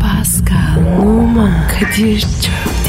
Pascal, Oman, Kadir çok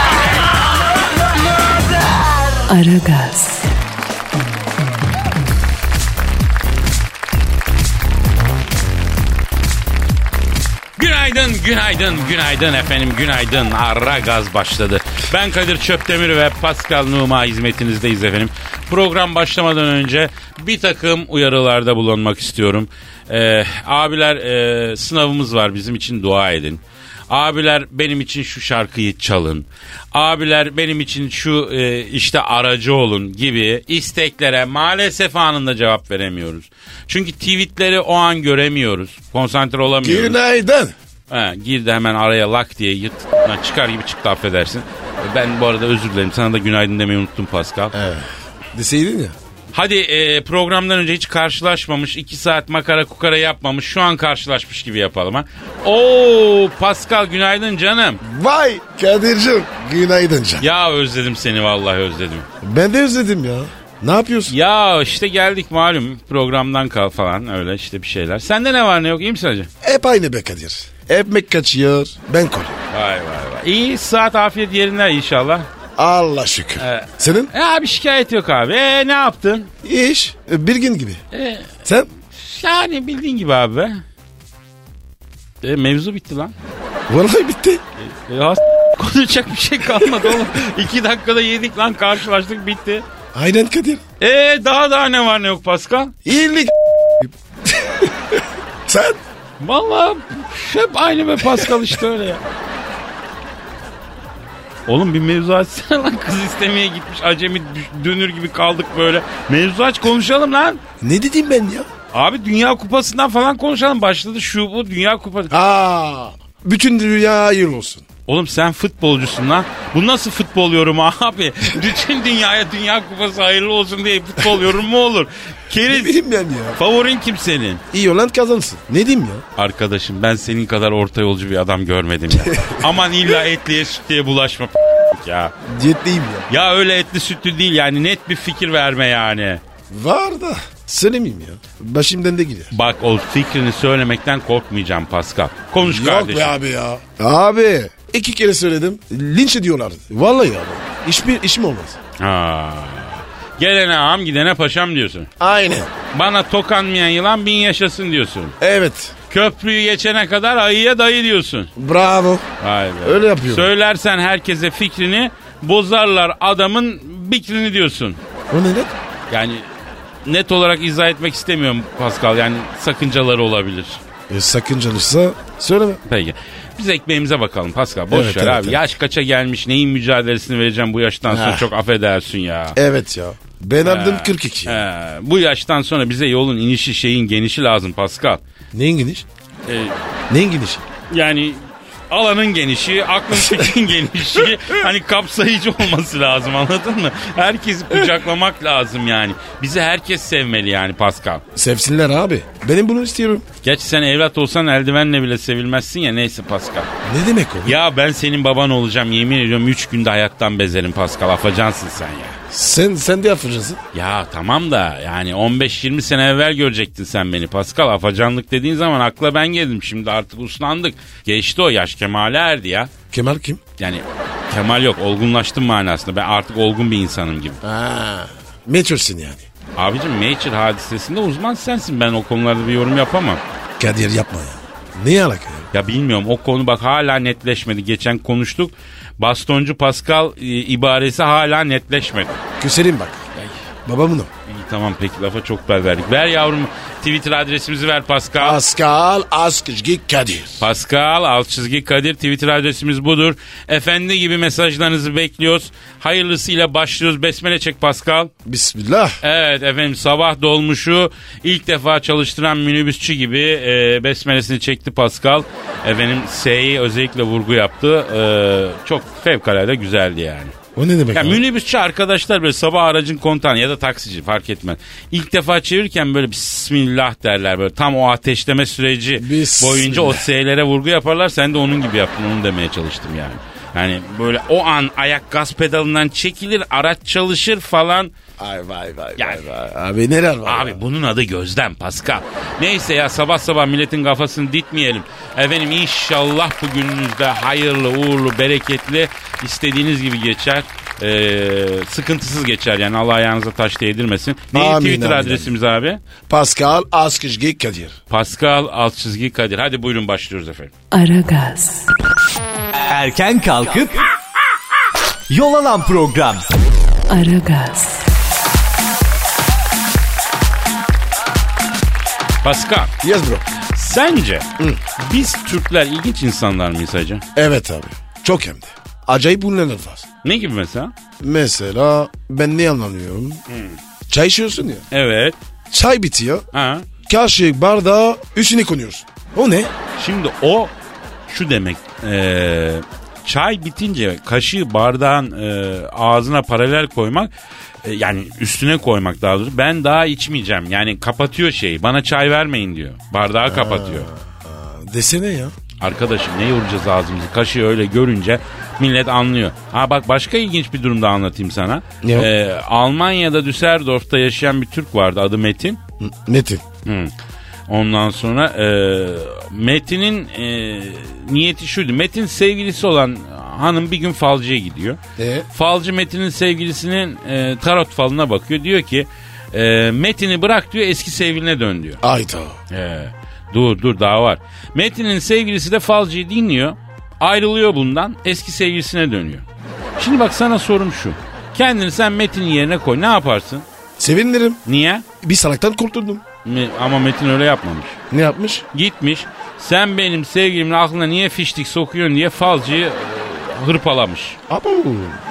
Aragaz, Günaydın, günaydın, günaydın efendim, günaydın. Arra gaz başladı. Ben Kadir Çöptemir ve Pascal Numa hizmetinizdeyiz efendim. Program başlamadan önce bir takım uyarılarda bulunmak istiyorum. Ee, abiler e, sınavımız var bizim için dua edin. Abiler benim için şu şarkıyı çalın. Abiler benim için şu e, işte aracı olun gibi isteklere maalesef anında cevap veremiyoruz. Çünkü tweetleri o an göremiyoruz. Konsantre olamıyoruz. Günaydın. Ha, girdi hemen araya lak diye yırt, lan çıkar gibi çıktı affedersin. Ben bu arada özür dilerim. Sana da günaydın demeyi unuttum Pascal. Deseydin ya. Hadi e, programdan önce hiç karşılaşmamış, iki saat makara kukara yapmamış, şu an karşılaşmış gibi yapalım ha. Oo Pascal günaydın canım. Vay Kadir'cim. Günaydın can. Ya özledim seni vallahi özledim. Ben de özledim ya. Ne yapıyorsun? Ya işte geldik malum programdan kal falan öyle işte bir şeyler. Sende ne var ne yok iyi misin hacı? Hep aynı be Kadir. Ekmek kaçıyor. Ben koruyorum. Vay vay vay. İyi saat afiyet yerinde inşallah. Allah şükür. Evet. Senin E abi şikayet yok abi. E ne yaptın? iş e, bir gün gibi. E, Sen? Yani bildiğin gibi abi be. E, mevzu bitti lan. Vallahi bitti. E, has- konuşacak bir şey kalmadı oğlum. İki dakikada yedik lan karşılaştık bitti. Aynen Kadir. E daha daha ne var ne yok Pascal? İyilik. Sen? Vallahi hep aynı be Pascal işte öyle ya. Oğlum bir mevzu açsana lan kız istemeye gitmiş acemi dü- dönür gibi kaldık böyle. Mevzu aç konuşalım lan. Ne dedim ben ya? Abi Dünya Kupası'ndan falan konuşalım başladı şu bu Dünya Kupası. Aa, bütün dünya hayır olsun. Oğlum sen futbolcusun lan. Bu nasıl futbol yorumu abi? Bütün dünyaya Dünya Kupası hayırlı olsun diye futbol yorumu mu olur? Ne Keriz. bileyim ben ya. Favorin kim senin? İyi olan kazansın. Ne diyeyim ya? Arkadaşım ben senin kadar orta yolcu bir adam görmedim ya. Aman illa etliye sütlüye bulaşma ya. Diyetliyim ya. Ya öyle etli sütlü değil yani net bir fikir verme yani. Var da söylemeyeyim ya. Başımdan da gider. Bak o fikrini söylemekten korkmayacağım Pascal. Konuş kardeşim. abi ya. Abi iki kere söyledim. Linç ediyorlardı. Vallahi abi. Hiçbir işim olmaz. Ha. Gelene ağam gidene paşam diyorsun. Aynen. Bana tokanmayan yılan bin yaşasın diyorsun. Evet. Köprüyü geçene kadar ayıya dayı diyorsun. Bravo. Vay be. Öyle yapıyorum. Söylersen herkese fikrini bozarlar adamın bikrini diyorsun. O ne lan? Yani net olarak izah etmek istemiyorum Pascal. Yani sakıncaları olabilir. E, sakıncalısa söyleme. Peki. Biz ekmeğimize bakalım Pascal. Boş Evet, ver evet, abi. evet. Yaş kaça gelmiş neyin mücadelesini vereceğim bu yaştan sonra Ah. çok affedersin ya. Evet ya. Ben aldım 42. Ee, bu yaştan sonra bize yolun inişi şeyin genişi lazım Pascal. Neyin geniş? Ee, Neyin geniş? Yani alanın genişi, aklın fikrin genişi hani kapsayıcı olması lazım anladın mı? Herkesi kucaklamak lazım yani. Bizi herkes sevmeli yani Pascal. Sevsinler abi. Benim bunu istiyorum. Gerçi sen evlat olsan eldivenle bile sevilmezsin ya neyse Pascal. Ne demek o? Ya ben senin baban olacağım yemin ediyorum 3 günde hayattan bezerim Pascal afacansın sen ya. Sen sen de yapacaksın. Ya tamam da yani 15-20 sene evvel görecektin sen beni Pascal. Afacanlık dediğin zaman akla ben geldim. Şimdi artık uslandık. Geçti o yaş kemale erdi ya. Kemal kim? Yani Kemal yok olgunlaştım manasında. Ben artık olgun bir insanım gibi. Ha. Meçhulsün yani. Abicim Nature hadisesinde uzman sensin. Ben o konularda bir yorum yapamam. Kadir yapma ya. Ne alaka ya? Ya bilmiyorum o konu bak hala netleşmedi. Geçen konuştuk. Bastoncu Pascal e, ibaresi hala netleşmedi. Küserim bak. Babamın o. İyi tamam peki lafa çok bel verdik. Ver yavrum Twitter adresimizi ver Pascal. Pascal Askışgi Kadir. Pascal alt çizgi Kadir Twitter adresimiz budur. Efendi gibi mesajlarınızı bekliyoruz. Hayırlısıyla başlıyoruz. Besmele çek Pascal. Bismillah. Evet efendim sabah dolmuşu ilk defa çalıştıran minibüsçü gibi e, besmelesini çekti Pascal. Efendim S'yi özellikle vurgu yaptı. E, çok fevkalade güzeldi yani. O ne demek? Ya abi? minibüsçü arkadaşlar böyle sabah aracın kontağını ya da taksici fark etmez. İlk defa çevirirken böyle bismillah derler böyle tam o ateşleme süreci Bismillah. boyunca o S'lere vurgu yaparlar. Sen de onun gibi yaptın onu demeye çalıştım yani. Yani böyle o an ayak gaz pedalından çekilir araç çalışır falan. Ay vay vay Ya- vay vay. Abi neler var? Abi bunun adı gözlem Pascal. Neyse ya sabah sabah milletin kafasını ditmeyelim. Efendim inşallah bu gününüzde hayırlı, uğurlu, bereketli istediğiniz gibi geçer. Ee, sıkıntısız geçer yani Allah ayağınıza taş değdirmesin. Neydi Amin, Twitter amin, adresimiz abi? Pascal Askışgi Kadir. Pascal alt çizgi Kadir. Hadi buyurun başlıyoruz efendim. Aragaz, Erken kalkıp yol alan program. Aragaz, Pascal Yes bro. sence biz Türkler ilginç insanlar mıyız hacı? Evet abi. Çok hem de. Acayip bunlar var. Ne gibi mesela? Mesela ben ne anlamıyorum? Hmm. Çay içiyorsun ya. Evet. Çay bitiyor. Ha. Karşı bardağı üstüne konuyorsun. O ne? Şimdi o şu demek. eee, çay bitince kaşığı bardağın eee, ağzına paralel koymak e, yani üstüne koymak daha doğrusu. Ben daha içmeyeceğim. Yani kapatıyor şeyi. Bana çay vermeyin diyor. Bardağı kapatıyor. Desene ya. Arkadaşım ne yoracağız ağzımızı? Kaşığı öyle görünce millet anlıyor. Ha bak başka ilginç bir durumda anlatayım sana. Ne o? Eee, Almanya'da Düsseldorf'ta yaşayan bir Türk vardı adı Metin. Metin. Hı. Ondan sonra e, Metin'in e, niyeti şuydu. Metin sevgilisi olan hanım bir gün falcıya gidiyor. E? Falcı Metin'in sevgilisinin e, tarot falına bakıyor. Diyor ki e, Metin'i bırak diyor eski sevgiline dön diyor. Ayda. E, dur dur daha var. Metin'in sevgilisi de falcıyı dinliyor. Ayrılıyor bundan eski sevgilisine dönüyor. Şimdi bak sana sorum şu. Kendini sen Metin'in yerine koy ne yaparsın? Sevinirim. Niye? Bir salaktan kurtuldum. Me- Ama Metin öyle yapmamış. Ne yapmış? Gitmiş. Sen benim sevgilimin aklına niye fiştik sokuyorsun diye falcıyı e, hırpalamış. Abo.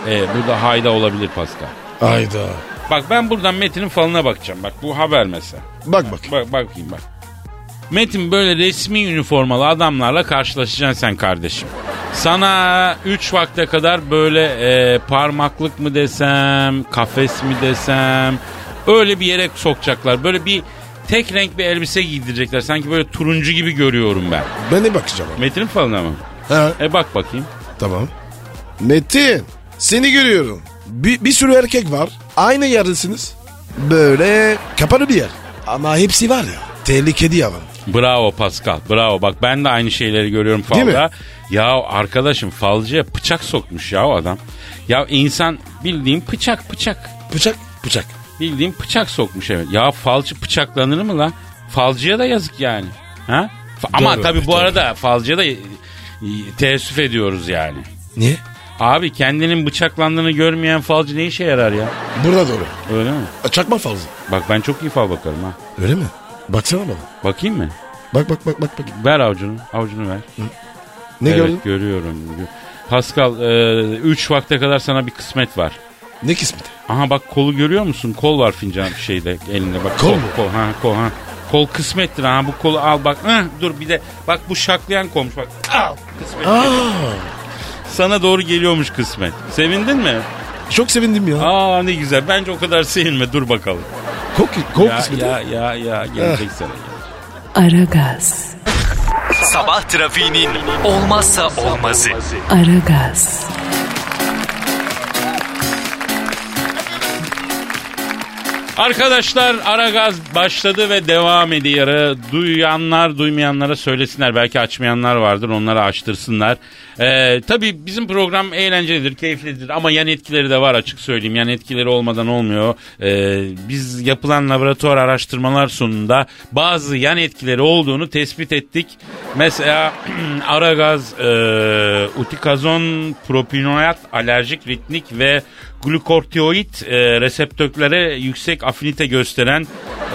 E, burada hayda olabilir Pascal. Ayda. Bak ben buradan Metin'in falına bakacağım. Bak bu haber mesela. Bak bak. Bak bakayım bak. Metin böyle resmi üniformalı adamlarla karşılaşacaksın sen kardeşim. Sana 3 vakte kadar böyle e, parmaklık mı desem, kafes mi desem öyle bir yere sokacaklar. Böyle bir tek renk bir elbise giydirecekler. Sanki böyle turuncu gibi görüyorum ben. Ben de bakacağım. abi. Metin'in falına mı? Ha, E bak bakayım. tamam. Metin. Seni görüyorum. Bir, bir sürü erkek var. Aynı yerdesiniz. Böyle kapalı bir yer. Ama hepsi var ya. Tehlikeli yalan. Bravo Pascal. Bravo. Bak ben de aynı şeyleri görüyorum Değil mi? falda. Ya arkadaşım falcıya bıçak sokmuş ya o adam. Ya insan bildiğin bıçak bıçak. Bıçak. Bıçak. Bildiğin bıçak sokmuş evet. Ya falcı bıçaklanır mı lan? Falcıya da yazık yani. Ha? Fa- Ama Doğru, tabii bu doğru. arada falcıya da e, e, teessüf ediyoruz yani. Niye? Abi kendinin bıçaklandığını görmeyen falcı ne işe yarar ya? Burada doğru. Öyle mi? Çakma fazla. Bak ben çok iyi fal bakarım ha. Öyle mi? Baksana bana. Bakayım mı? Bak bak bak bak. bak. Ver avucunu. Avucunu ver. Ne evet, gördün? görüyorum. Pascal 3 vakte kadar sana bir kısmet var. Ne kısmeti? Aha bak kolu görüyor musun? Kol var fincan şeyde elinde bak. Kol kol, mu? kol, ha, kol, ha. kol kısmettir ha bu kolu al bak. Hıh, dur bir de bak bu şaklayan kolmuş bak. Al kısmet. Sana doğru geliyormuş kısmet. Sevindin mi? Çok sevindim ya. Aa ne güzel. Bence o kadar sevinme. Dur bakalım. Kok, kok Ya kısmeti. ya ya ya Ah. gelecek sana. Aragaz, Sabah trafiğinin olmazsa olmazı. Aragaz, Arkadaşlar Aragaz başladı ve devam ediyor. Ee, Duyanlar duymayanlara söylesinler. Belki açmayanlar vardır onlara açtırsınlar. Ee, tabii bizim program eğlencelidir, keyiflidir ama yan etkileri de var açık söyleyeyim. Yan etkileri olmadan olmuyor. Ee, biz yapılan laboratuvar araştırmalar sonunda bazı yan etkileri olduğunu tespit ettik. Mesela Aragaz e, utikazon propinoyat alerjik ritmik ve glukortioid e, reseptörlere yüksek afinite gösteren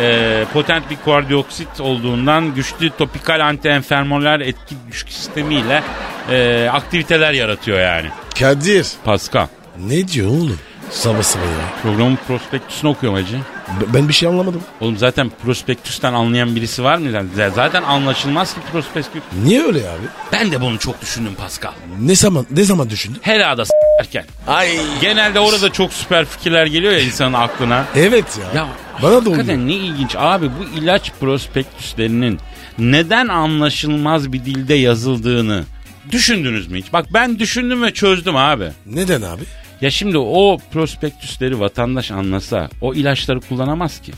e, potent bir kardiyoksit olduğundan güçlü topikal antienfermolar etki güç sistemiyle e, aktiviteler yaratıyor yani. Kadir. Pascal. Ne diyor oğlum? Sabah sabah ya. Programın prospektüsünü okuyorum hacı. B- Ben bir şey anlamadım. Oğlum zaten prospektüsten anlayan birisi var mı? Z- Zaten anlaşılmaz ki prospektüs. Niye öyle abi? Ben de bunu çok düşündüm Pascal. Ne zaman ne zaman düşündün? Hela'da erken. Ay. Genelde orada çok süper fikirler geliyor ya insanın aklına. Evet ya. Ya Bana da oluyor. hakikaten ne ilginç abi bu ilaç prospektüslerinin neden anlaşılmaz bir dilde yazıldığını düşündünüz mü hiç? Bak ben düşündüm ve çözdüm abi. Neden abi? Ya şimdi o prospektüsleri vatandaş anlasa o ilaçları kullanamaz ki.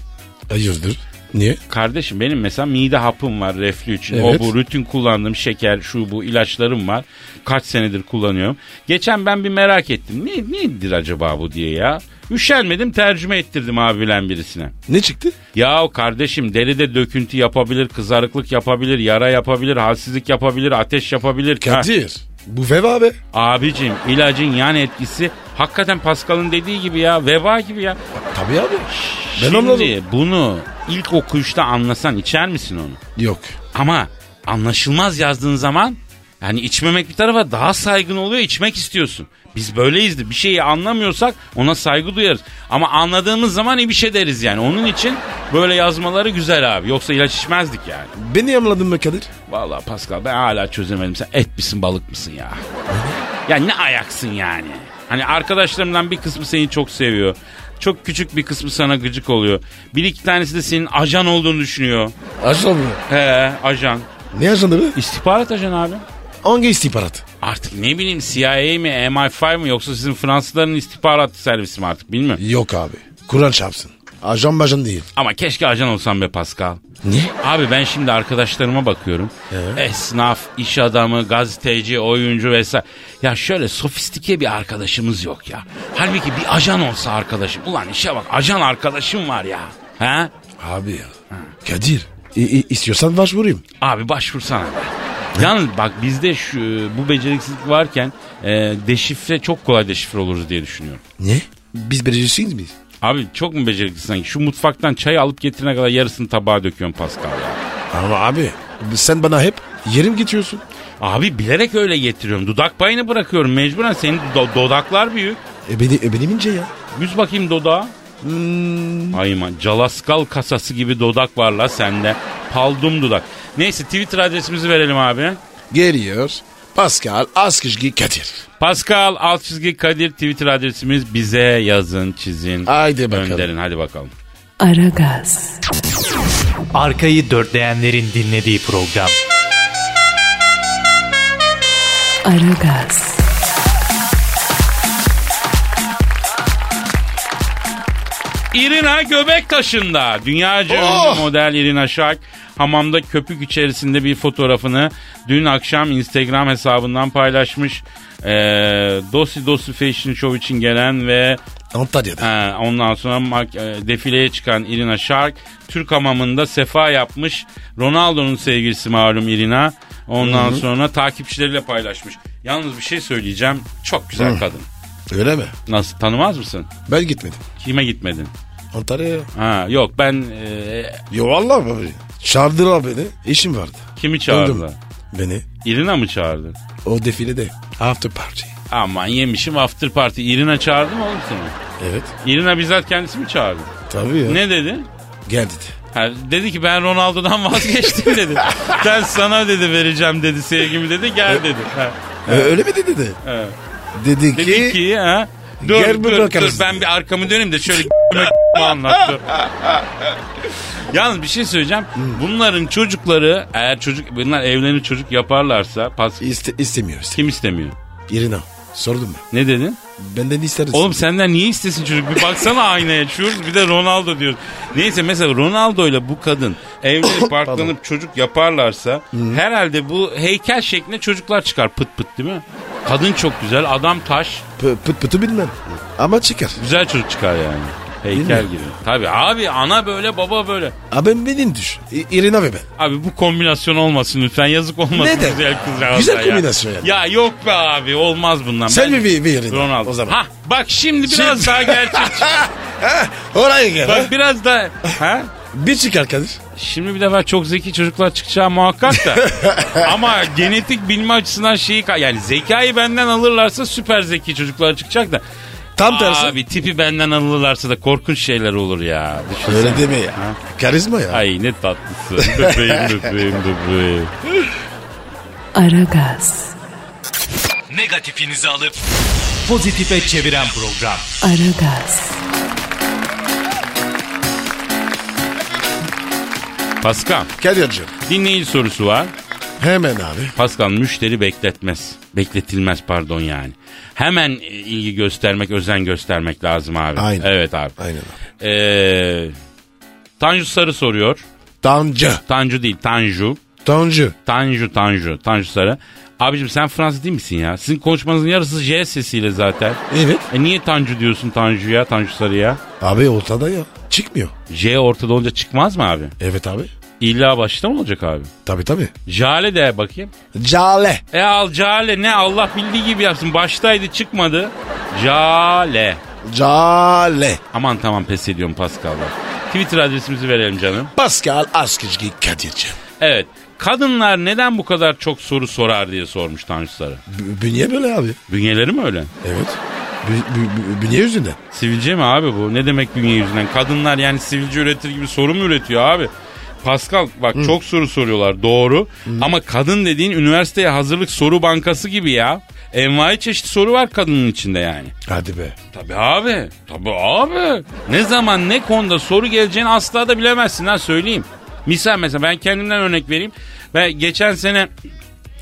Hayırdır? Niye? Kardeşim benim mesela mide hapım var reflü için. Evet. O bu rutin kullandığım şeker şu bu ilaçlarım var. Kaç senedir kullanıyorum. Geçen ben bir merak ettim. Ne, nedir acaba bu diye ya. Üşenmedim tercüme ettirdim abi bilen birisine. Ne çıktı? Yahu kardeşim deride döküntü yapabilir, kızarıklık yapabilir, yara yapabilir, halsizlik yapabilir, ateş yapabilir. Ha, Kadir. Bu veba be. abicim ilacın yan etkisi hakikaten Pascal'ın dediği gibi ya veba gibi ya. Tabii abi. Ben Şimdi anladım. bunu ilk okuyuşta anlasan içer misin onu? Yok. Ama anlaşılmaz yazdığın zaman yani içmemek bir tarafa daha saygın oluyor içmek istiyorsun. Biz böyleyizdir. Bir şeyi anlamıyorsak ona saygı duyarız. Ama anladığımız zaman iyi bir şey deriz yani. Onun için böyle yazmaları güzel abi. Yoksa ilaç içmezdik yani. Beni anladın mı Kadir? Vallahi Pascal ben hala çözemedim. Sen et misin balık mısın ya? Ya ne ayaksın yani? Hani arkadaşlarımdan bir kısmı seni çok seviyor. Çok küçük bir kısmı sana gıcık oluyor. Bir iki tanesi de senin ajan olduğunu düşünüyor. Ajan mı? He ajan. Ne ajanı be? İstihbarat ajanı abi. Hangi istihbarat? Artık ne bileyim CIA mi MI5 mi yoksa sizin Fransızların istihbarat servisi mi artık bilmiyorum. Yok abi. Kur'an çarpsın. Ajan bajan değil. Ama keşke ajan olsam be Pascal. Niye? Abi ben şimdi arkadaşlarıma bakıyorum. Esnaf, iş adamı, gazeteci, oyuncu vesaire. Ya şöyle sofistike bir arkadaşımız yok ya. Halbuki bir ajan olsa arkadaşım. Ulan işe bak ajan arkadaşım var ya. He? Abi ya. Kadir. i- i- istiyorsan başvurayım. Abi başvursana. be. Yalnız bak bizde şu bu beceriksizlik varken e, deşifre çok kolay deşifre oluruz diye düşünüyorum. Niye? Biz becerisiz miyiz? Abi çok mu beceriklisin sanki? Şu mutfaktan çayı alıp getirene kadar yarısını tabağa döküyorsun Pascal ya. Ama abi sen bana hep yerim getiriyorsun. Abi bilerek öyle getiriyorum. Dudak payını bırakıyorum mecburen. Senin do- dodaklar büyük. E, beni, e benim ince ya. Yüz bakayım dodağa. Ayman calaskal kasası gibi dodak var la sende. Paldum dudak. Neyse Twitter adresimizi verelim abi. Geliyor. Pascal Askışgi Kadir. Pascal alt çizgi Kadir Twitter adresimiz bize yazın çizin. Haydi bakalım. Gönderin hadi bakalım. Aragaz, Arkayı dörtleyenlerin dinlediği program. Aragaz, Irina göbek taşında. Dünyaca Oh! ünlü model Irina Shayk hamamda köpük içerisinde bir fotoğrafını dün akşam Instagram hesabından paylaşmış. Ee, Dosi Dosi Fashion Show için gelen ve Antalya'da. He, ondan sonra mak- e, defileye çıkan Irina Shark Türk hamamında sefa yapmış. Ronaldo'nun sevgilisi malum Irina. Ondan sonra takipçileriyle paylaşmış. Yalnız bir şey söyleyeceğim. Çok güzel kadın. Öyle mi? Nasıl tanımaz mısın? Ben gitmedim. Kime gitmedin? Antalya'ya. Ha yok ben e, Yo valla abi. Çağırdılar beni. İşim vardı. kimi Döndüm. çağırdı? Beni. Irina mı çağırdı? O defilede. After party. Aman yemişim after party. Irina çağırdı mı oğlum seni? Evet. Irina bizzat kendisi mi çağırdı? Tabii ya. Ne dedi? Gel dedi. Ha, dedi ki ben Ronaldo'dan vazgeçtim dedi. ben sana dedi vereceğim dedi sevgimi dedi gel dedi. Ha, Ee, öyle mi dedi dedi. Evet. Dedi ki, dedi ki ha, dur Gel dur, bir dur, bakarız. ben bir arkamı döneyim de şöyle anlattı. Yalnız bir şey söyleyeceğim. Bunların çocukları eğer çocuk bunlar evlenir çocuk yaparlarsa pas İste, istemiyor istemiyor. kim istemiyor? Irina. Sordum ben. Ne dedin? Benden isteriz. Oğlum senden niye istesin çocuk? Bir baksana aynaya şuuruz bir de Ronaldo diyoruz. Neyse mesela Ronaldo'yla bu kadın evlenip Pardon. parklanıp çocuk yaparlarsa herhalde bu heykel şeklinde çocuklar çıkar pıt pıt değil mi? Kadın çok güzel, adam taş. P- pıt pıtı bilmem. Ama çıkar. Güzel çocuk çıkar yani. Heykel gibi. Tabii abi ana böyle baba böyle. Abi benim düş. İ- İrina ve ben. Abi bu kombinasyon olmasın lütfen yazık olmasın Neden? güzel kızcağıza Güzel ya. kombinasyon yani. Ya yok be abi olmaz bundan. Sen mi bir- bir- Ronaldo. o zaman? Ha bak şimdi biraz Şimdi- daha gerçekçi. Ha, oraya gel. ha. bak biraz daha. Ha? Bir çıkar Kadir. Şimdi bir defa çok zeki çocuklar çıkacağı muhakkak da. Ama genetik bilme açısından şeyi ka- yani zekayı benden alırlarsa süper zeki çocuklar çıkacak da. Tam tersi. Abi tipi benden alırlarsa da korkunç şeyler olur ya. Düşün. Öyle deme ya. Karizma ya. Ay ne tatlısı. Bebeğim bebeğim bebeğim. Aragaz, Negatifinizi alıp pozitife çeviren program. Aragaz, Paskal Kadir'cim dinleyici sorusu var. hemen abi. Pascal müşteri bekletmez. Bekletilmez pardon yani. Hemen e, ilgi göstermek, özen göstermek lazım abi. Aynen. Evet abi. Aynen abi. Ee, Tanju Sarı soruyor. Tanju. Tanju değil Tanju. Tanju. Tanju Tanju. Tanju Sarı. Abicim sen Fransız değil misin ya? Sizin konuşmanızın yarısı J sesiyle zaten. Evet. E niye Tanju diyorsun Tanju'ya, Tanju Sarı'ya? Abi ortada ya. Çıkmıyor. J ortada olunca çıkmaz mı abi? Evet abi. İlla başta mı olacak abi? Tabi tabi. Jale de bakayım. Cale. E al Cale ne Allah bildiği gibi yapsın. Baştaydı çıkmadı. Cale. Cale. Aman tamam pes ediyorum Pascal'la. Twitter adresimizi verelim canım. Pascal Askizgi Kadir'cim. Evet. Kadınlar neden bu kadar çok soru sorar diye sormuş Tanju Sarı. B- bünye böyle abi. Bünyeleri mi öyle? Evet. B- b- b- bünye yüzünden. Sivilce mi abi bu? Ne demek bünye yüzünden? Kadınlar yani sivilce üretir gibi soru mu üretiyor abi? Pascal bak çok soru soruyorlar doğru. Ama kadın dediğin üniversiteye hazırlık soru bankası gibi ya. Envai çeşit soru var kadının içinde yani. Hadi be. Tabii abi. Tabii abi. Ne zaman ne konuda soru geleceğini asla da bilemezsin ha söyleyeyim. Misal mesela ben kendimden örnek vereyim. Ve geçen sene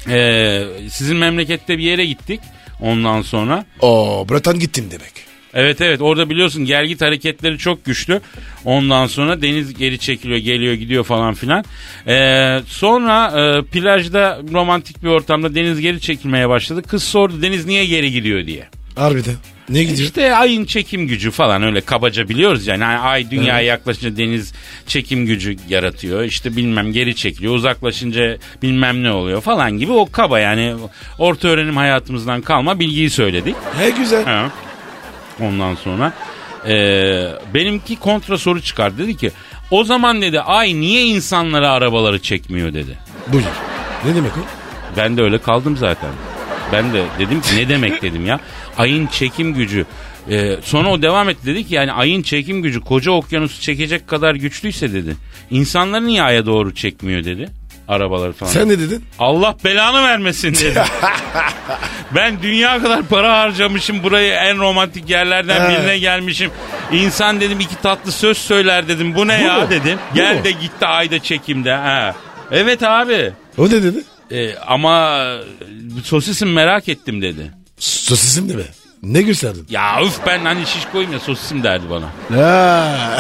e, sizin memlekette bir yere gittik. Ondan sonra. O Breton gittim demek. Evet evet orada biliyorsun gelgit hareketleri çok güçlü. Ondan sonra deniz geri çekiliyor geliyor gidiyor falan filan. E, sonra e, plajda romantik bir ortamda deniz geri çekilmeye başladı. Kız sordu deniz niye geri gidiyor diye. Harbiden. Ne gidiyor? İşte ayın çekim gücü falan öyle kabaca biliyoruz yani. Yani ay dünyaya yaklaşınca deniz çekim gücü yaratıyor. İşte bilmem geri çekiliyor. Uzaklaşınca bilmem ne oluyor falan gibi o kaba yani orta öğrenim hayatımızdan kalma bilgiyi söyledik. Ne güzel. Ha. Ondan sonra e, benimki kontra soru çıkar. Dedi ki o zaman dedi ay niye insanlara arabaları çekmiyor dedi. Buyur. Ne demek o? Ben de öyle kaldım zaten. Ben de dedim ki ne demek dedim ya. Ayın çekim gücü. Ee, sonra o devam etti dedi ki yani ayın çekim gücü koca okyanusu çekecek kadar güçlüyse dedi. İnsanları niye aya doğru çekmiyor dedi. Arabaları falan. Sen ne dedin? Allah belanı vermesin dedi. ben dünya kadar para harcamışım burayı en romantik yerlerden Evet. birine gelmişim. İnsan dedim iki tatlı söz söyler dedim. Bu ne Bu ya mu? dedim. Bu Gel mu? de gitti ayda çekimde. Ha. Evet abi. O ne dedi? E, ama sosisim merak ettim dedi. Sosisim de be. Ne gösterdin? Ya üf ben hani şiş koyayım ya sosisim derdi bana. Ha.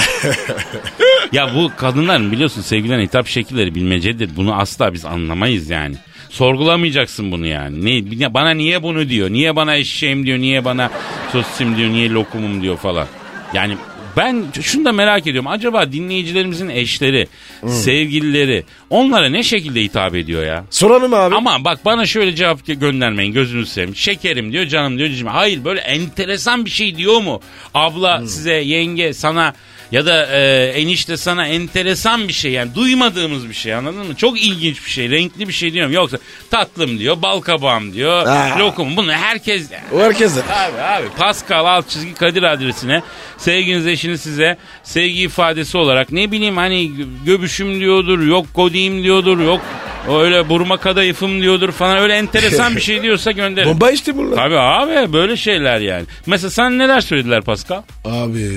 Ya bu kadınların biliyorsun sevgilen hitap şekilleri bilmecedir. Bunu asla biz anlamayız yani. Sorgulamayacaksın bunu yani. Ne, ya bana niye bunu diyor? Niye bana eşeğim diyor? Niye bana sosisim diyor? Niye lokumum diyor falan. Yani ben şunu da merak ediyorum. Acaba dinleyicilerimizin eşleri, sevgilileri onlara ne şekilde hitap ediyor ya? Soralım abi. Ama bak bana şöyle cevap gö- göndermeyin gözünüzü seveyim. Şekerim diyor canım diyor cicim. Hayır böyle enteresan bir şey diyor mu? Abla Hmm. size yenge sana ya da e, enişte sana enteresan bir şey yani duymadığımız bir şey anladın mı? Çok ilginç bir şey renkli bir şey diyorum. Yoksa tatlım diyor bal kabağım diyor Ha. lokum bunu herkes O herkes de. Abi abi Pascal alt çizgi Kadir adresine sevginiz eşini size sevgi ifadesi olarak ne bileyim hani göbüşüm diyordur yok kodiyim diyordur yok öyle burma kadayıfım diyordur falan öyle enteresan bir şey diyorsa gönderin. Bomba işte bunlar. Tabii abi böyle şeyler yani. Mesela sen neler söylediler Pascal? Abi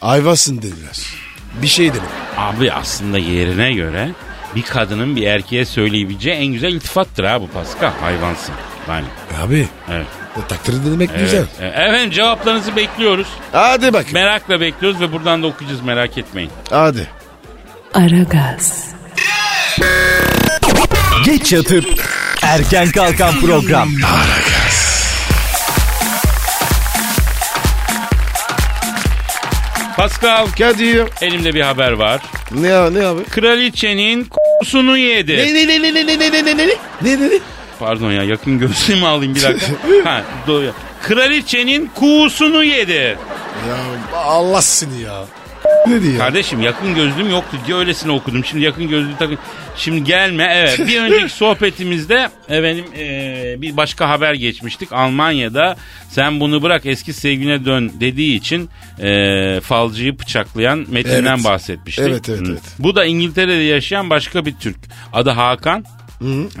ayvasın dediler. Bir şey dedim. Abi aslında yerine göre bir kadının bir erkeğe söyleyebileceği en güzel iltifattır ha bu Pascal. Hayvansın. Yani E Abi evet. takdir demek güzel. Evet. E, Efendim cevaplarınızı bekliyoruz. Hadi bak. Merakla bekliyoruz ve buradan da okuyacağız merak etmeyin. Hadi. Aragaz, Geç yatıp erken kalkan program. Pascal Kadir. elimde bir haber var. Ne, ne abi? Kraliçenin k***sunu yedi. Ne ne ne ne ne ne ne ne ne ne? Ne ne ne? Pardon ya yakın gözlüğümü alayım bir dakika. ha, doğru. Kraliçenin kuğusunu yedi. Ya Allah seni ya. Ne diyor? Kardeşim yakın gözlüğüm yoktu diye öylesine okudum. Şimdi yakın gözlüğü takın. Şimdi gelme evet. Bir önceki sohbetimizde efendim eee, bir başka haber geçmiştik. Almanya'da sen bunu bırak eski sevgine dön dediği için eee, falcıyı bıçaklayan metinden Evet. bahsetmiştik. Evet, evet, Hı. evet. Bu da İngiltere'de yaşayan başka bir Türk. Adı Hakan.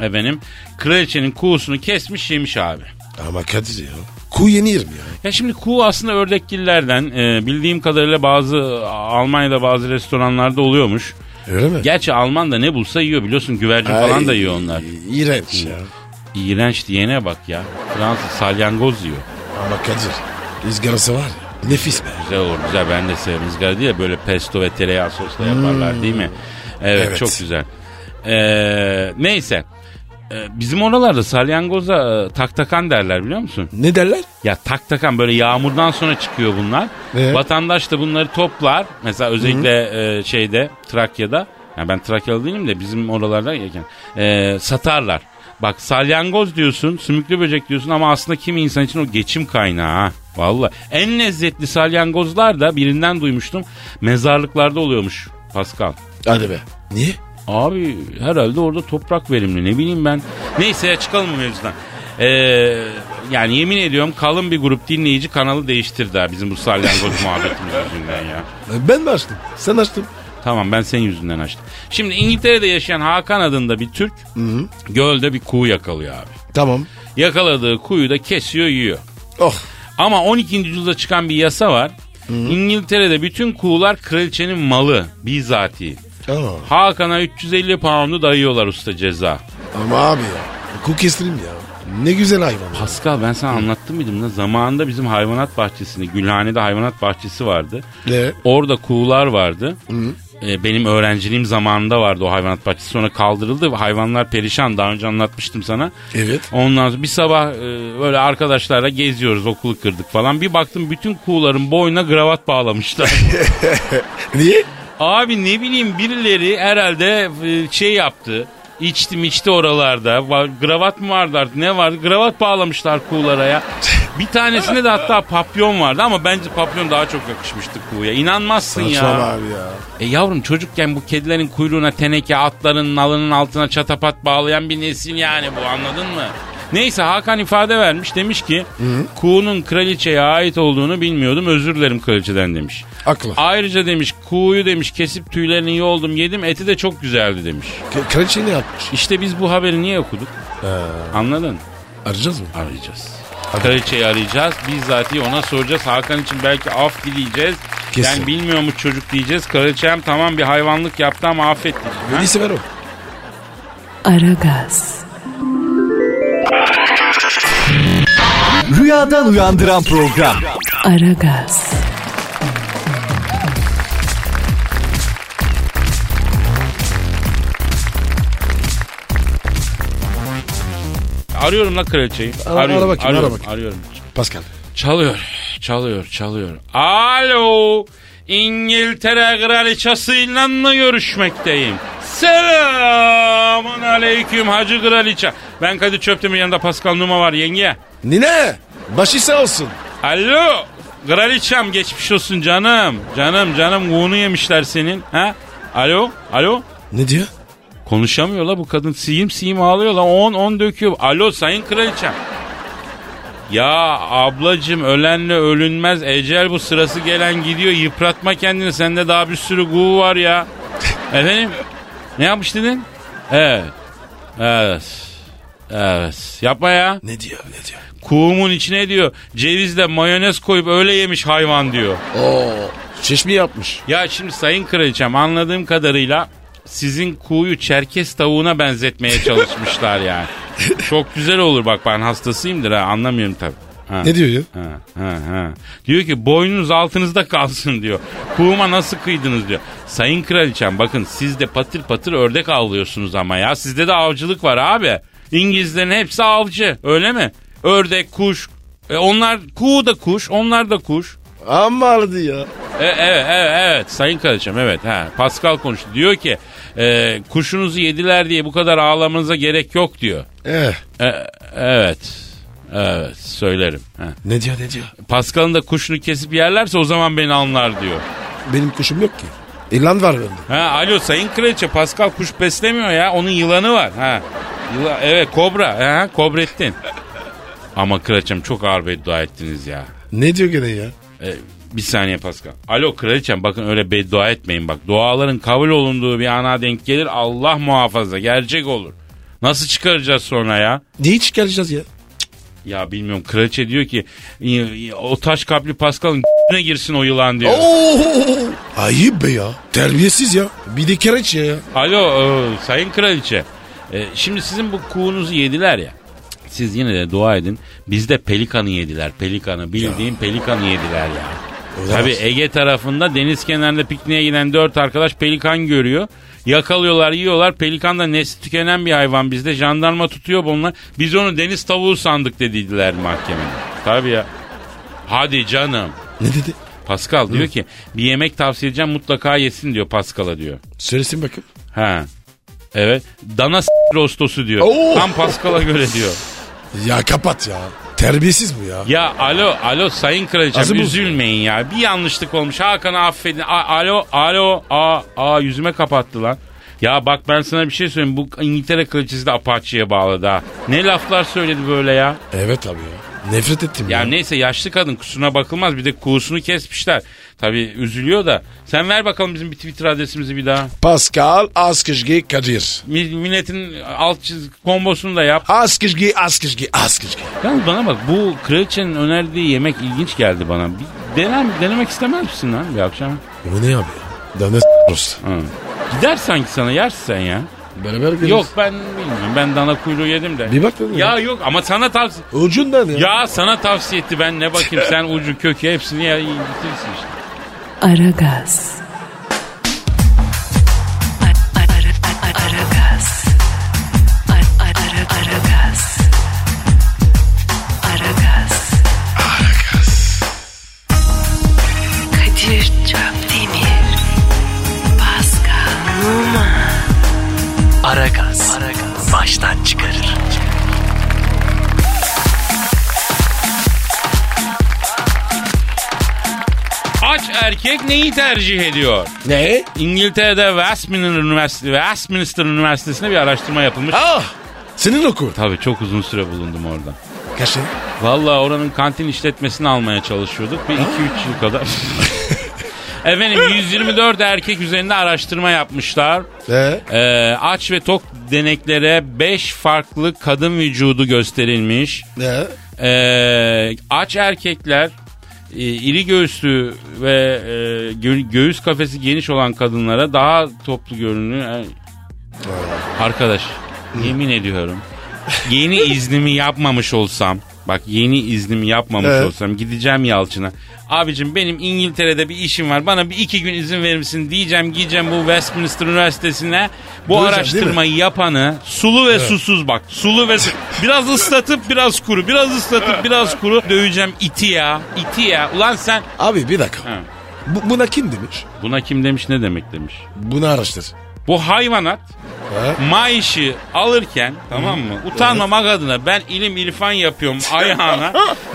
Efendim kraliçenin kuğusunu kesmiş yemiş abi. Ama Kadir ya. Kuğu yenir mi ya? Ya şimdi kuğu aslında ördekgillerden e, bildiğim kadarıyla bazı Almanya'da bazı restoranlarda oluyormuş. Öyle mi? Gerçi Alman da ne bulsa yiyor biliyorsun güvercin falan da yiyor onlar. İğrenç ya. İğrenç diyene bak ya. Fransız salyangoz yiyor. Ama Kadir. ızgarası var ya. Nefis be. Güzel olur güzel ben de severim ızgara değil de böyle pesto ve tereyağı sosla yaparlar değil mi? Evet, Evet. çok güzel. Ee, neyse. Ee, Bizim oralarda salyangoza e, taktakan derler biliyor musun? Ne derler? Ya tak takan böyle yağmurdan sonra çıkıyor bunlar. Evet. Vatandaş da bunları toplar. Mesela özellikle e, şeyde Trakya'da. Yani ben Trakyalı değilim de bizim oralarda yerken. E, satarlar. Bak salyangoz diyorsun, sümüklü böcek diyorsun ama aslında kimi insan için o geçim kaynağı ha. Valla. En lezzetli salyangozlar da birinden duymuştum. Mezarlıklarda oluyormuş Pascal. Hadi be. Niye? Abi herhalde orada toprak verimli ne bileyim ben. Neyse ya çıkalım bu mevzudan. Ee, yani yemin ediyorum kalın bir grup dinleyici kanalı değiştirdi ha bizim bu salyangoz muhabbetimiz yüzünden ya. Ben mi açtım? Sen açtın. Tamam ben senin yüzünden açtım. Şimdi İngiltere'de yaşayan Hakan adında bir Türk gölde bir kuğu yakalıyor abi. Tamam. Yakaladığı kuğuyu da kesiyor yiyor. Oh. Ama 12. yüzyılda çıkan bir yasa var. İngiltere'de bütün kuğular kraliçenin malı bizatihi. Aa. Hakan'a 350 pound'u dayıyorlar usta ceza. Ama abi ya. Kuğu kestireyim ya. Ne güzel hayvan. ya. Pascal ben sana anlattım mıydım? Ne? Zamanında bizim hayvanat bahçesinde, Gülhane'de hayvanat bahçesi vardı. Ne? Orada kuğular vardı. Ee, benim öğrenciliğim zamanında vardı o hayvanat bahçesi. Sonra kaldırıldı. Hayvanlar perişan. Daha önce anlatmıştım sana. Evet. Ondan sonra bir sabah e, böyle arkadaşlarla geziyoruz. Okulu kırdık falan. Bir baktım bütün kuğuların boynuna gravat bağlamışlar. Niye? Abi ne bileyim birileri herhalde e, şey yaptı. İçtim içti oralarda. Var, gravat mı vardı artık ne vardı? Gravat bağlamışlar kuğulara ya. Bir tanesinde de hatta papyon vardı ama bence papyon daha çok yakışmıştı kuğuya. İnanmazsın Saçmalama ya. abi ya. E yavrum çocukken bu kedilerin kuyruğuna teneke, atların nalının altına çatapat bağlayan bir nesil yani bu anladın mı? Neyse Hakan ifade vermiş demiş ki kuğunun kraliçeye ait olduğunu bilmiyordum özür dilerim kraliçeden demiş. Aklı. Ayrıca demiş kuğuyu demiş kesip tüylerini yoldum yedim eti de çok güzeldi demiş. K- Kraliçe ne yapmış? İşte biz bu haberi niye okuduk? Ee. Anladın? Arayacağız mı? Arayacağız. Kraliçeyi arayacağız. Bizzat ona soracağız. Hakan için belki af dileyeceğiz. Kesin. Yani bilmiyor mu çocuk diyeceğiz. Kraliçem tamam bir hayvanlık yaptı ama affet diyeceğiz. Beni sever o. Aragaz, Rüyadan uyandıran program. Aragaz, Arıyorum la kraliçeyi. Ara- ara arıyorum, bakayım, ara arıyorum, bakayım. arıyorum. Pascal. Çalıyor, çalıyor, çalıyor. Alo, İngiltere kraliçesiyle mi görüşmekteyim? Selamun aleyküm hacı kraliçe. Ben Kadir Çöptemir yanında Pascal Numa var yenge. Nine. Başı sağ olsun. Alo, kraliçem geçmiş olsun canım. Canım canım kuğunu yemişler senin. Ha? Alo, alo. Ne diyor? Konuşamıyor la bu kadın. Siyim siyim ağlıyor la. 10 10 döküyor. Alo sayın kraliçem. Ya ablacım ölenle ölünmez. Ecel bu sırası gelen gidiyor. Yıpratma kendini. Sende daha bir sürü kuğu var ya. Efendim? Ne yapmış dedin? Evet. Evet. Evet. Yapma ya. Ne diyor? Ne diyor? Kuğumun içine diyor cevizle mayonez koyup öyle yemiş hayvan diyor. Oo. Çeşme yapmış. Ya şimdi sayın kraliçem anladığım kadarıyla sizin kuğuyu Çerkes tavuğuna benzetmeye çalışmışlar yani. Çok güzel olur bak ben hastasıyımdır ha anlamıyorum tabii. Ha. Ne diyor ya? Ha, ha, ha. Diyor ki boynunuz altınızda kalsın diyor. Kuğuma nasıl kıydınız diyor. Sayın kraliçem bakın siz de patır patır ördek avlıyorsunuz ama ya. Sizde de avcılık var abi. İngilizlerin hepsi avcı öyle mi? Ördek, kuş. E onlar kuğu da kuş onlar da kuş. Amma aradı ya. E, evet, evet, evet sayın kardeşim evet. Ha, Pascal konuştu diyor ki e, kuşunuzu yediler diye bu kadar ağlamanıza gerek yok diyor. Eh, E, evet. Evet söylerim. Ha. ne diyor ne diyor? Pascal'ın da kuşunu kesip yerlerse o zaman beni anlar diyor. Benim kuşum yok ki. İlan var bende. Ha, alo sayın kraliçe Pascal kuş beslemiyor ya onun yılanı var. Ha. Yıla, evet kobra. Ha, kobrettin. Ama kraliçem çok ağır beddua ettiniz ya. Ne diyor gene ya? E, bir saniye Pascal. Alo kraliçem bakın öyle beddua etmeyin bak. Duaların kabul olunduğu bir ana denk gelir Allah muhafaza gerçek olur. Nasıl çıkaracağız sonra ya? Niye çıkaracağız ya? Ya bilmiyorum kraliçe diyor ki "İ- o taş kaplı Pascal'ın ne girsin o yılan diyor. Oo, ayıp be ya. Terbiyesiz ya. Bir de kereç ya. Alo e, sayın kraliçe. E, şimdi sizin bu kuğunuzu yediler ya. Siz yine de dua edin. Bizde pelikanı yediler. Pelikanı bildiğin pelikanı yediler ya. Olamaz. Tabii Ege tarafında deniz kenarında pikniğe giden dört arkadaş pelikan görüyor. Yakalıyorlar yiyorlar. Pelikan da nesli tükenen bir hayvan bizde. Jandarma tutuyor bunlar. Biz onu deniz tavuğu sandık dediler mahkemede. Tabii ya. Hadi canım. Ne dedi? Pascal diyor ki bir yemek tavsiye edeceğim mutlaka yesin diyor Pascal'a diyor. Söylesin bakayım. Ha. Evet. Dana s- rostosu diyor. Oo. Tam Pascal'a göre diyor. Ya kapat ya. Terbiyesiz bu ya. Ya alo alo sayın kraliçem Ağzı bozuyor. üzülmeyin ya. Bir yanlışlık olmuş. Hakan'ı affedin. A- alo alo a a yüzüme kapattı lan. Ya bak ben sana bir şey söyleyeyim. Bu İngiltere kraliçesi de Apache'ye bağladı ha. Ne laflar söyledi böyle ya. Evet abi ya. Nefret ettim Ya ya. neyse yaşlı kadın kusuna bakılmaz. Bir de kuğusunu kesmişler. Tabii üzülüyor da. Sen ver bakalım bizim bir Twitter adresimizi bir daha. Pascal Askışgi Kadir. Mi- Milletin alt çiz kombosunu da yap. Askışgi Askışgi Askışgi. Yalnız bana bak bu kraliçenin önerdiği yemek ilginç geldi bana. Bir dener, denemek istemez misin lan bir akşam? Bu ne abi ya? Dana s- rost. Ha. Gider sanki sana yersin sen ya. Beraber gideriz. Yok ben bilmiyorum ben dana kuyruğu yedim de. Bir bak dedim Ya ya. yok ama sana tavsiye... Ucundan ya. Ya sana tavsiye etti ben ne bakayım sen ucu kökü hepsini ya bitirsin işte. Aragaz. Ara- ara- ara- Aragaz. Ara- ara- Aragaz. Aragaz. Kadir Çöptemir. Pascal Numa. Aragaz. Baştan çıkarır. Aç erkek neyi tercih ediyor? Ne? İngiltere'de Westminster, Üniversitesi, Westminster Üniversitesi'nde bir araştırma yapılmış. Ah! Senin okul. Tabii çok uzun süre bulundum orada. Kaçın? Valla oranın kantin işletmesini almaya çalışıyorduk. Bir 2-3 yıl kadar. Efendim 124 erkek üzerinde araştırma yapmışlar. Ee? Ee, aç ve tok deneklere 5 farklı kadın vücudu gösterilmiş. Ne? Ee, aç erkekler e, iri göğüslü ve e, gö- göğüs kafesi geniş olan kadınlara daha toplu görünüyor. Arkadaş yemin ediyorum yeni iznimi yapmamış olsam bak yeni iznimi yapmamış Evet. olsam gideceğim Yalçın'a. Abicim benim İngiltere'de bir işim var bana bir iki gün izin verir misin diyeceğim gideceğim bu Westminster Üniversitesi'ne bu Duyacağım, araştırmayı yapanı sulu ve susuz bak sulu ve su- biraz ıslatıp biraz kuru biraz ıslatıp biraz kuru döveceğim iti ya iti ya ulan sen Abi bir dakika. Ha. Bu, buna kim demiş? buna kim demiş ne demek demiş. Bunu araştır. Bu hayvanat Ha? maaşı alırken tamam mı? Utanmamak adına ben ilim ilfan yapıyorum ayağına.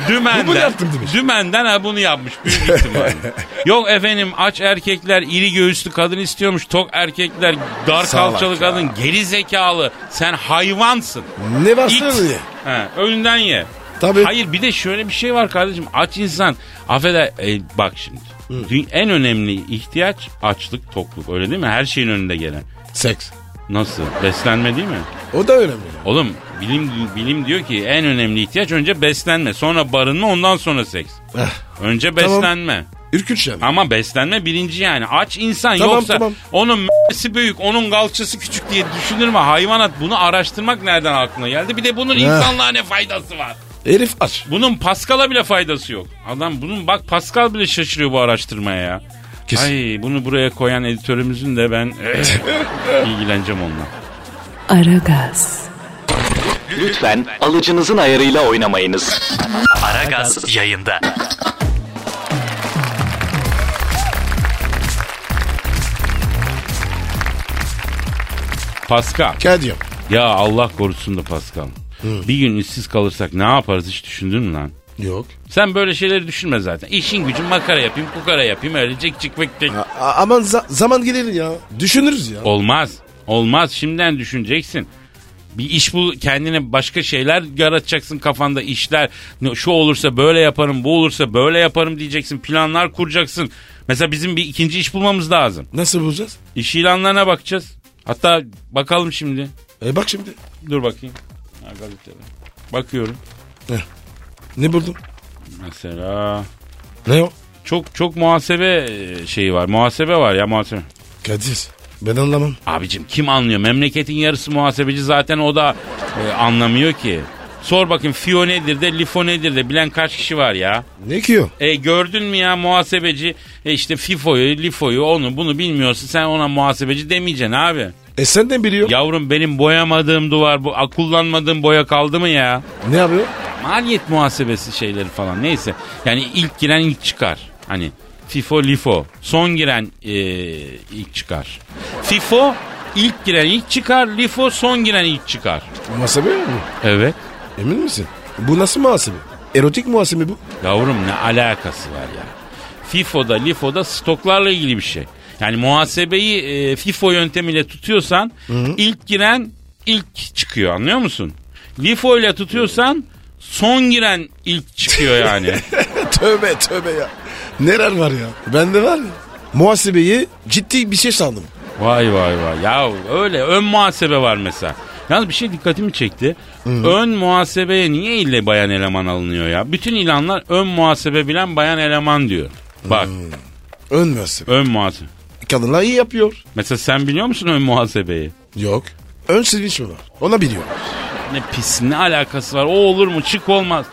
Dümenden. Bu bunu yaptım demiş. Dümenden ha bunu yapmış büyük ihtimalle. Yok efendim aç erkekler iri göğüslü kadın istiyormuş. Tok erkekler dar Salak kalçalı ya. kadın geri zekalı. Sen hayvansın. Ne varsa İt. öyle. He, önünden ye. Tabii. Hayır bir de şöyle bir şey var kardeşim. Aç insan. Affeder. e, bak şimdi. Dü- En önemli ihtiyaç açlık, tokluk. Öyle değil mi? Her şeyin önünde gelen. Seks. Nasıl? Beslenme değil mi? O da önemli. Oğlum bilim bilim diyor ki en önemli ihtiyaç önce beslenme, sonra barınma, ondan sonra seks. Eh, Önce Tamam. beslenme. Ürkünç yani. Ama beslenme birinci yani. Aç insan Tamam, yoksa tamam. onun m***si büyük, onun galçası küçük diye düşünür mü? Hayvanat bunu araştırmak nereden aklına geldi? Bir de bunun insanlığa ne faydası var? Herif aç. Bunun Pascal'a bile faydası yok. Adam bunun bak Pascal bile şaşırıyor bu araştırmaya ya. Kesin. Ay bunu buraya koyan editörümüzün de ben eh, ilgileneceğim onunla. Aragaz. Lütfen alıcınızın ayarıyla oynamayınız. Aragaz yayında. Pascal. Kadir. Ya Allah korusun da Pascal. Bir gün işsiz kalırsak ne yaparız hiç düşündün mü lan? Yok. Sen böyle şeyleri düşünme zaten. İşin gücün makara yapayım, kukara yapayım, öyle cik cik bık bık. A- aman za- zaman gelir ya. Düşünürüz ya. Olmaz. Olmaz. Şimdiden düşüneceksin. Bir iş bul kendine başka şeyler yaratacaksın kafanda işler. Şu olursa böyle yaparım, bu olursa böyle yaparım diyeceksin. Planlar kuracaksın. Mesela bizim bir ikinci iş bulmamız lazım. Nasıl bulacağız? İş ilanlarına bakacağız. Hatta bakalım şimdi. E bak şimdi. Dur bakayım. Ha, gazetede. Bakıyorum. Ne buldum? Mesela Ne o? çok çok muhasebe e, şeyi var. Muhasebe var ya muhasebe. Kadir. Ben anlamam. Abicim kim anlıyor? Memleketin yarısı muhasebeci zaten o da e, anlamıyor ki. Sor bakın Fio nedir de Lifo nedir de bilen kaç kişi var ya? Ne ki o? E gördün mü ya muhasebeci e, işte Fifo'yu, Lifo'yu onu bunu bilmiyorsun sen ona muhasebeci demeyeceksin abi. E senden biliyor. Yavrum benim boyamadığım duvar bu a, kullanmadığım boya kaldı mı ya? Ne yapıyor? Maliyet muhasebesi şeyleri falan neyse. Yani ilk giren ilk çıkar. Hani FIFO LIFO. Son giren e, ilk çıkar. FIFO ilk giren ilk çıkar. LIFO son giren ilk çıkar. Muhasebe mi? Evet. Emin misin? Bu nasıl muhasebe? Erotik muhasebe bu. Yavrum ne alakası var ya? FIFO'da LIFO'da stoklarla ilgili bir şey. Yani muhasebeyi e, FIFO yöntemiyle tutuyorsan ilk giren ilk çıkıyor anlıyor musun? LIFO ile tutuyorsan son giren ilk çıkıyor yani. tövbe tövbe ya. Neler var ya? Bende var ya. Muhasebeyi ciddi bir şey sandım. Vay vay vay. Ya öyle ön muhasebe var mesela. Yalnız bir şey dikkatimi çekti. Ön muhasebeye niye ille bayan eleman alınıyor ya? Bütün ilanlar ön muhasebe bilen bayan eleman diyor. Bak Ön muhasebe. ön muhasebe. Kadınlar iyi yapıyor. Mesela sen biliyor musun ön muhasebeyi? Yok. Ön sevinç mi var? Ona biliyor. Ne pis ne alakası var? O olur mu? Çık olmaz.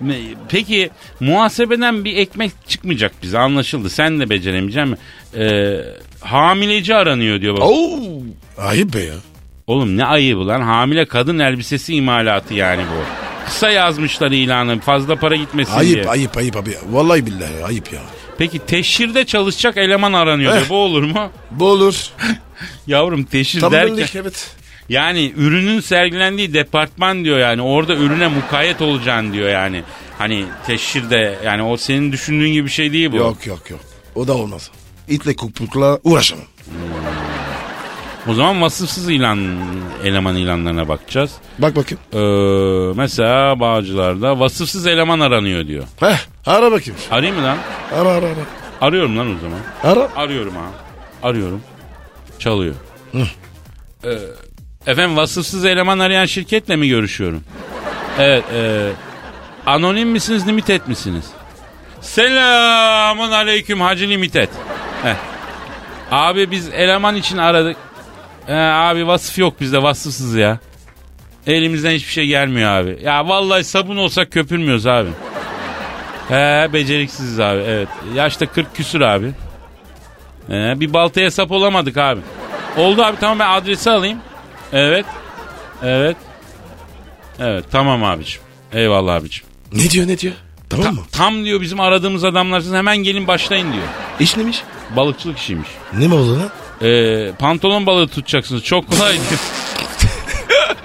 Ne- Peki muhasebeden bir ekmek çıkmayacak bize anlaşıldı. Sen de beceremeyeceksin mi? Ee, hamileci aranıyor diyor bak. Oo. Ayıp be ya. Oğlum ne ayıbı lan hamile kadın elbisesi imalatı yani bu. Kısa yazmışlar ilanı fazla para gitmesin Ayıp diye. ayıp ayıp abi. Vallahi billahi ayıp ya. Peki teşhirde çalışacak eleman aranıyor diyor. Eh. Bu olur mu? Bu olur. Yavrum teşhir Tam derken benlik evet. yani ürünün sergilendiği departman diyor yani orada ürüne mukayyet olacaksın diyor yani. Hani teşhirde yani o senin düşündüğün gibi bir şey değil bu. Yok yok yok. O da olmaz. İtle kupukla uğraşamam. O zaman vasıfsız ilan eleman ilanlarına bakacağız. Bak bakayım. Ee, mesela Bağcılar'da vasıfsız eleman aranıyor diyor. Heh ara bakayım. Arayayım mı lan? Ara ara ara. Arıyorum lan o zaman. Ara. Arıyorum ha. Arıyorum. Çalıyor. Ee, efendim vasıfsız eleman arayan şirketle mi görüşüyorum? Evet. e, anonim misiniz, limited misiniz? Selamun aleyküm Hacı Limited. Heh. Abi biz eleman için aradık. Ee, abi vasıf yok bizde vasıfsız ya. Elimizden hiçbir şey gelmiyor abi. Ya vallahi sabun olsak köpürmüyoruz abi. He beceriksiziz abi evet. Yaşta 40 küsür abi. Ee, bir baltaya sap olamadık abi. Oldu abi tamam ben adresi alayım. Evet. Evet. Evet tamam abiciğim. Eyvallah abiciğim. Ne diyor ne diyor? Tamam mı? Tam diyor bizim aradığımız adamlarsınız hemen gelin başlayın diyor. İş neymiş? Balıkçılık işiymiş. Ne mi oldu lan? Ee, pantolon balığı tutacaksınız çok kolay diyor.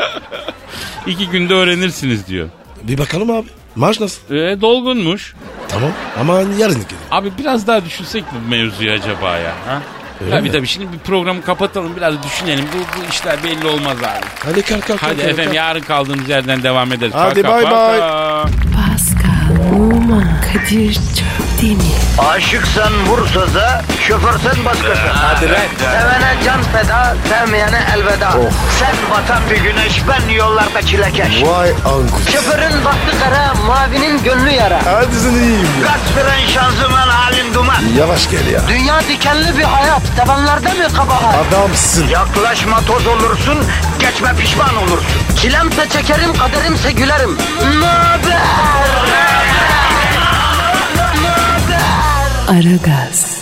İki günde öğrenirsiniz diyor. Bir bakalım abi. Maaş nasıl? Ee, dolgunmuş. Tamam. Ama hani yarın gidelim. Abi biraz daha düşünsek bu mevzuyu acaba ya. Ha? Öyle Tabii mi? tabii şimdi bir programı kapatalım biraz düşünelim. Bu, bu işler belli olmaz abi. Hadi kalk kalk. Hadi kalk, kalk, efendim kalk. yarın kaldığımız yerden devam ederiz. Hadi Paka, bay paka. Pascal, Oman, Kadir çok değil mi? Aşıksan vursa da, şoförsen başkasın. Hadi Sevene can feda, sevmeyene elveda. Sen batan bir güneş, ben yollarda çilekeş. Vay anku. Şoförün baktı kara, mavinin gönlü yara. Hadi sen iyiyim ya. Kasperen şanzıman halin duman. Yavaş gel ya. Dünya dikenli bir hayat, sevenlerde mi kabahar? Adamsın. Yaklaşma toz olursun, geçme pişman olursun. Çilemse çekerim, kaderimse gülerim. Möber! Aragaz.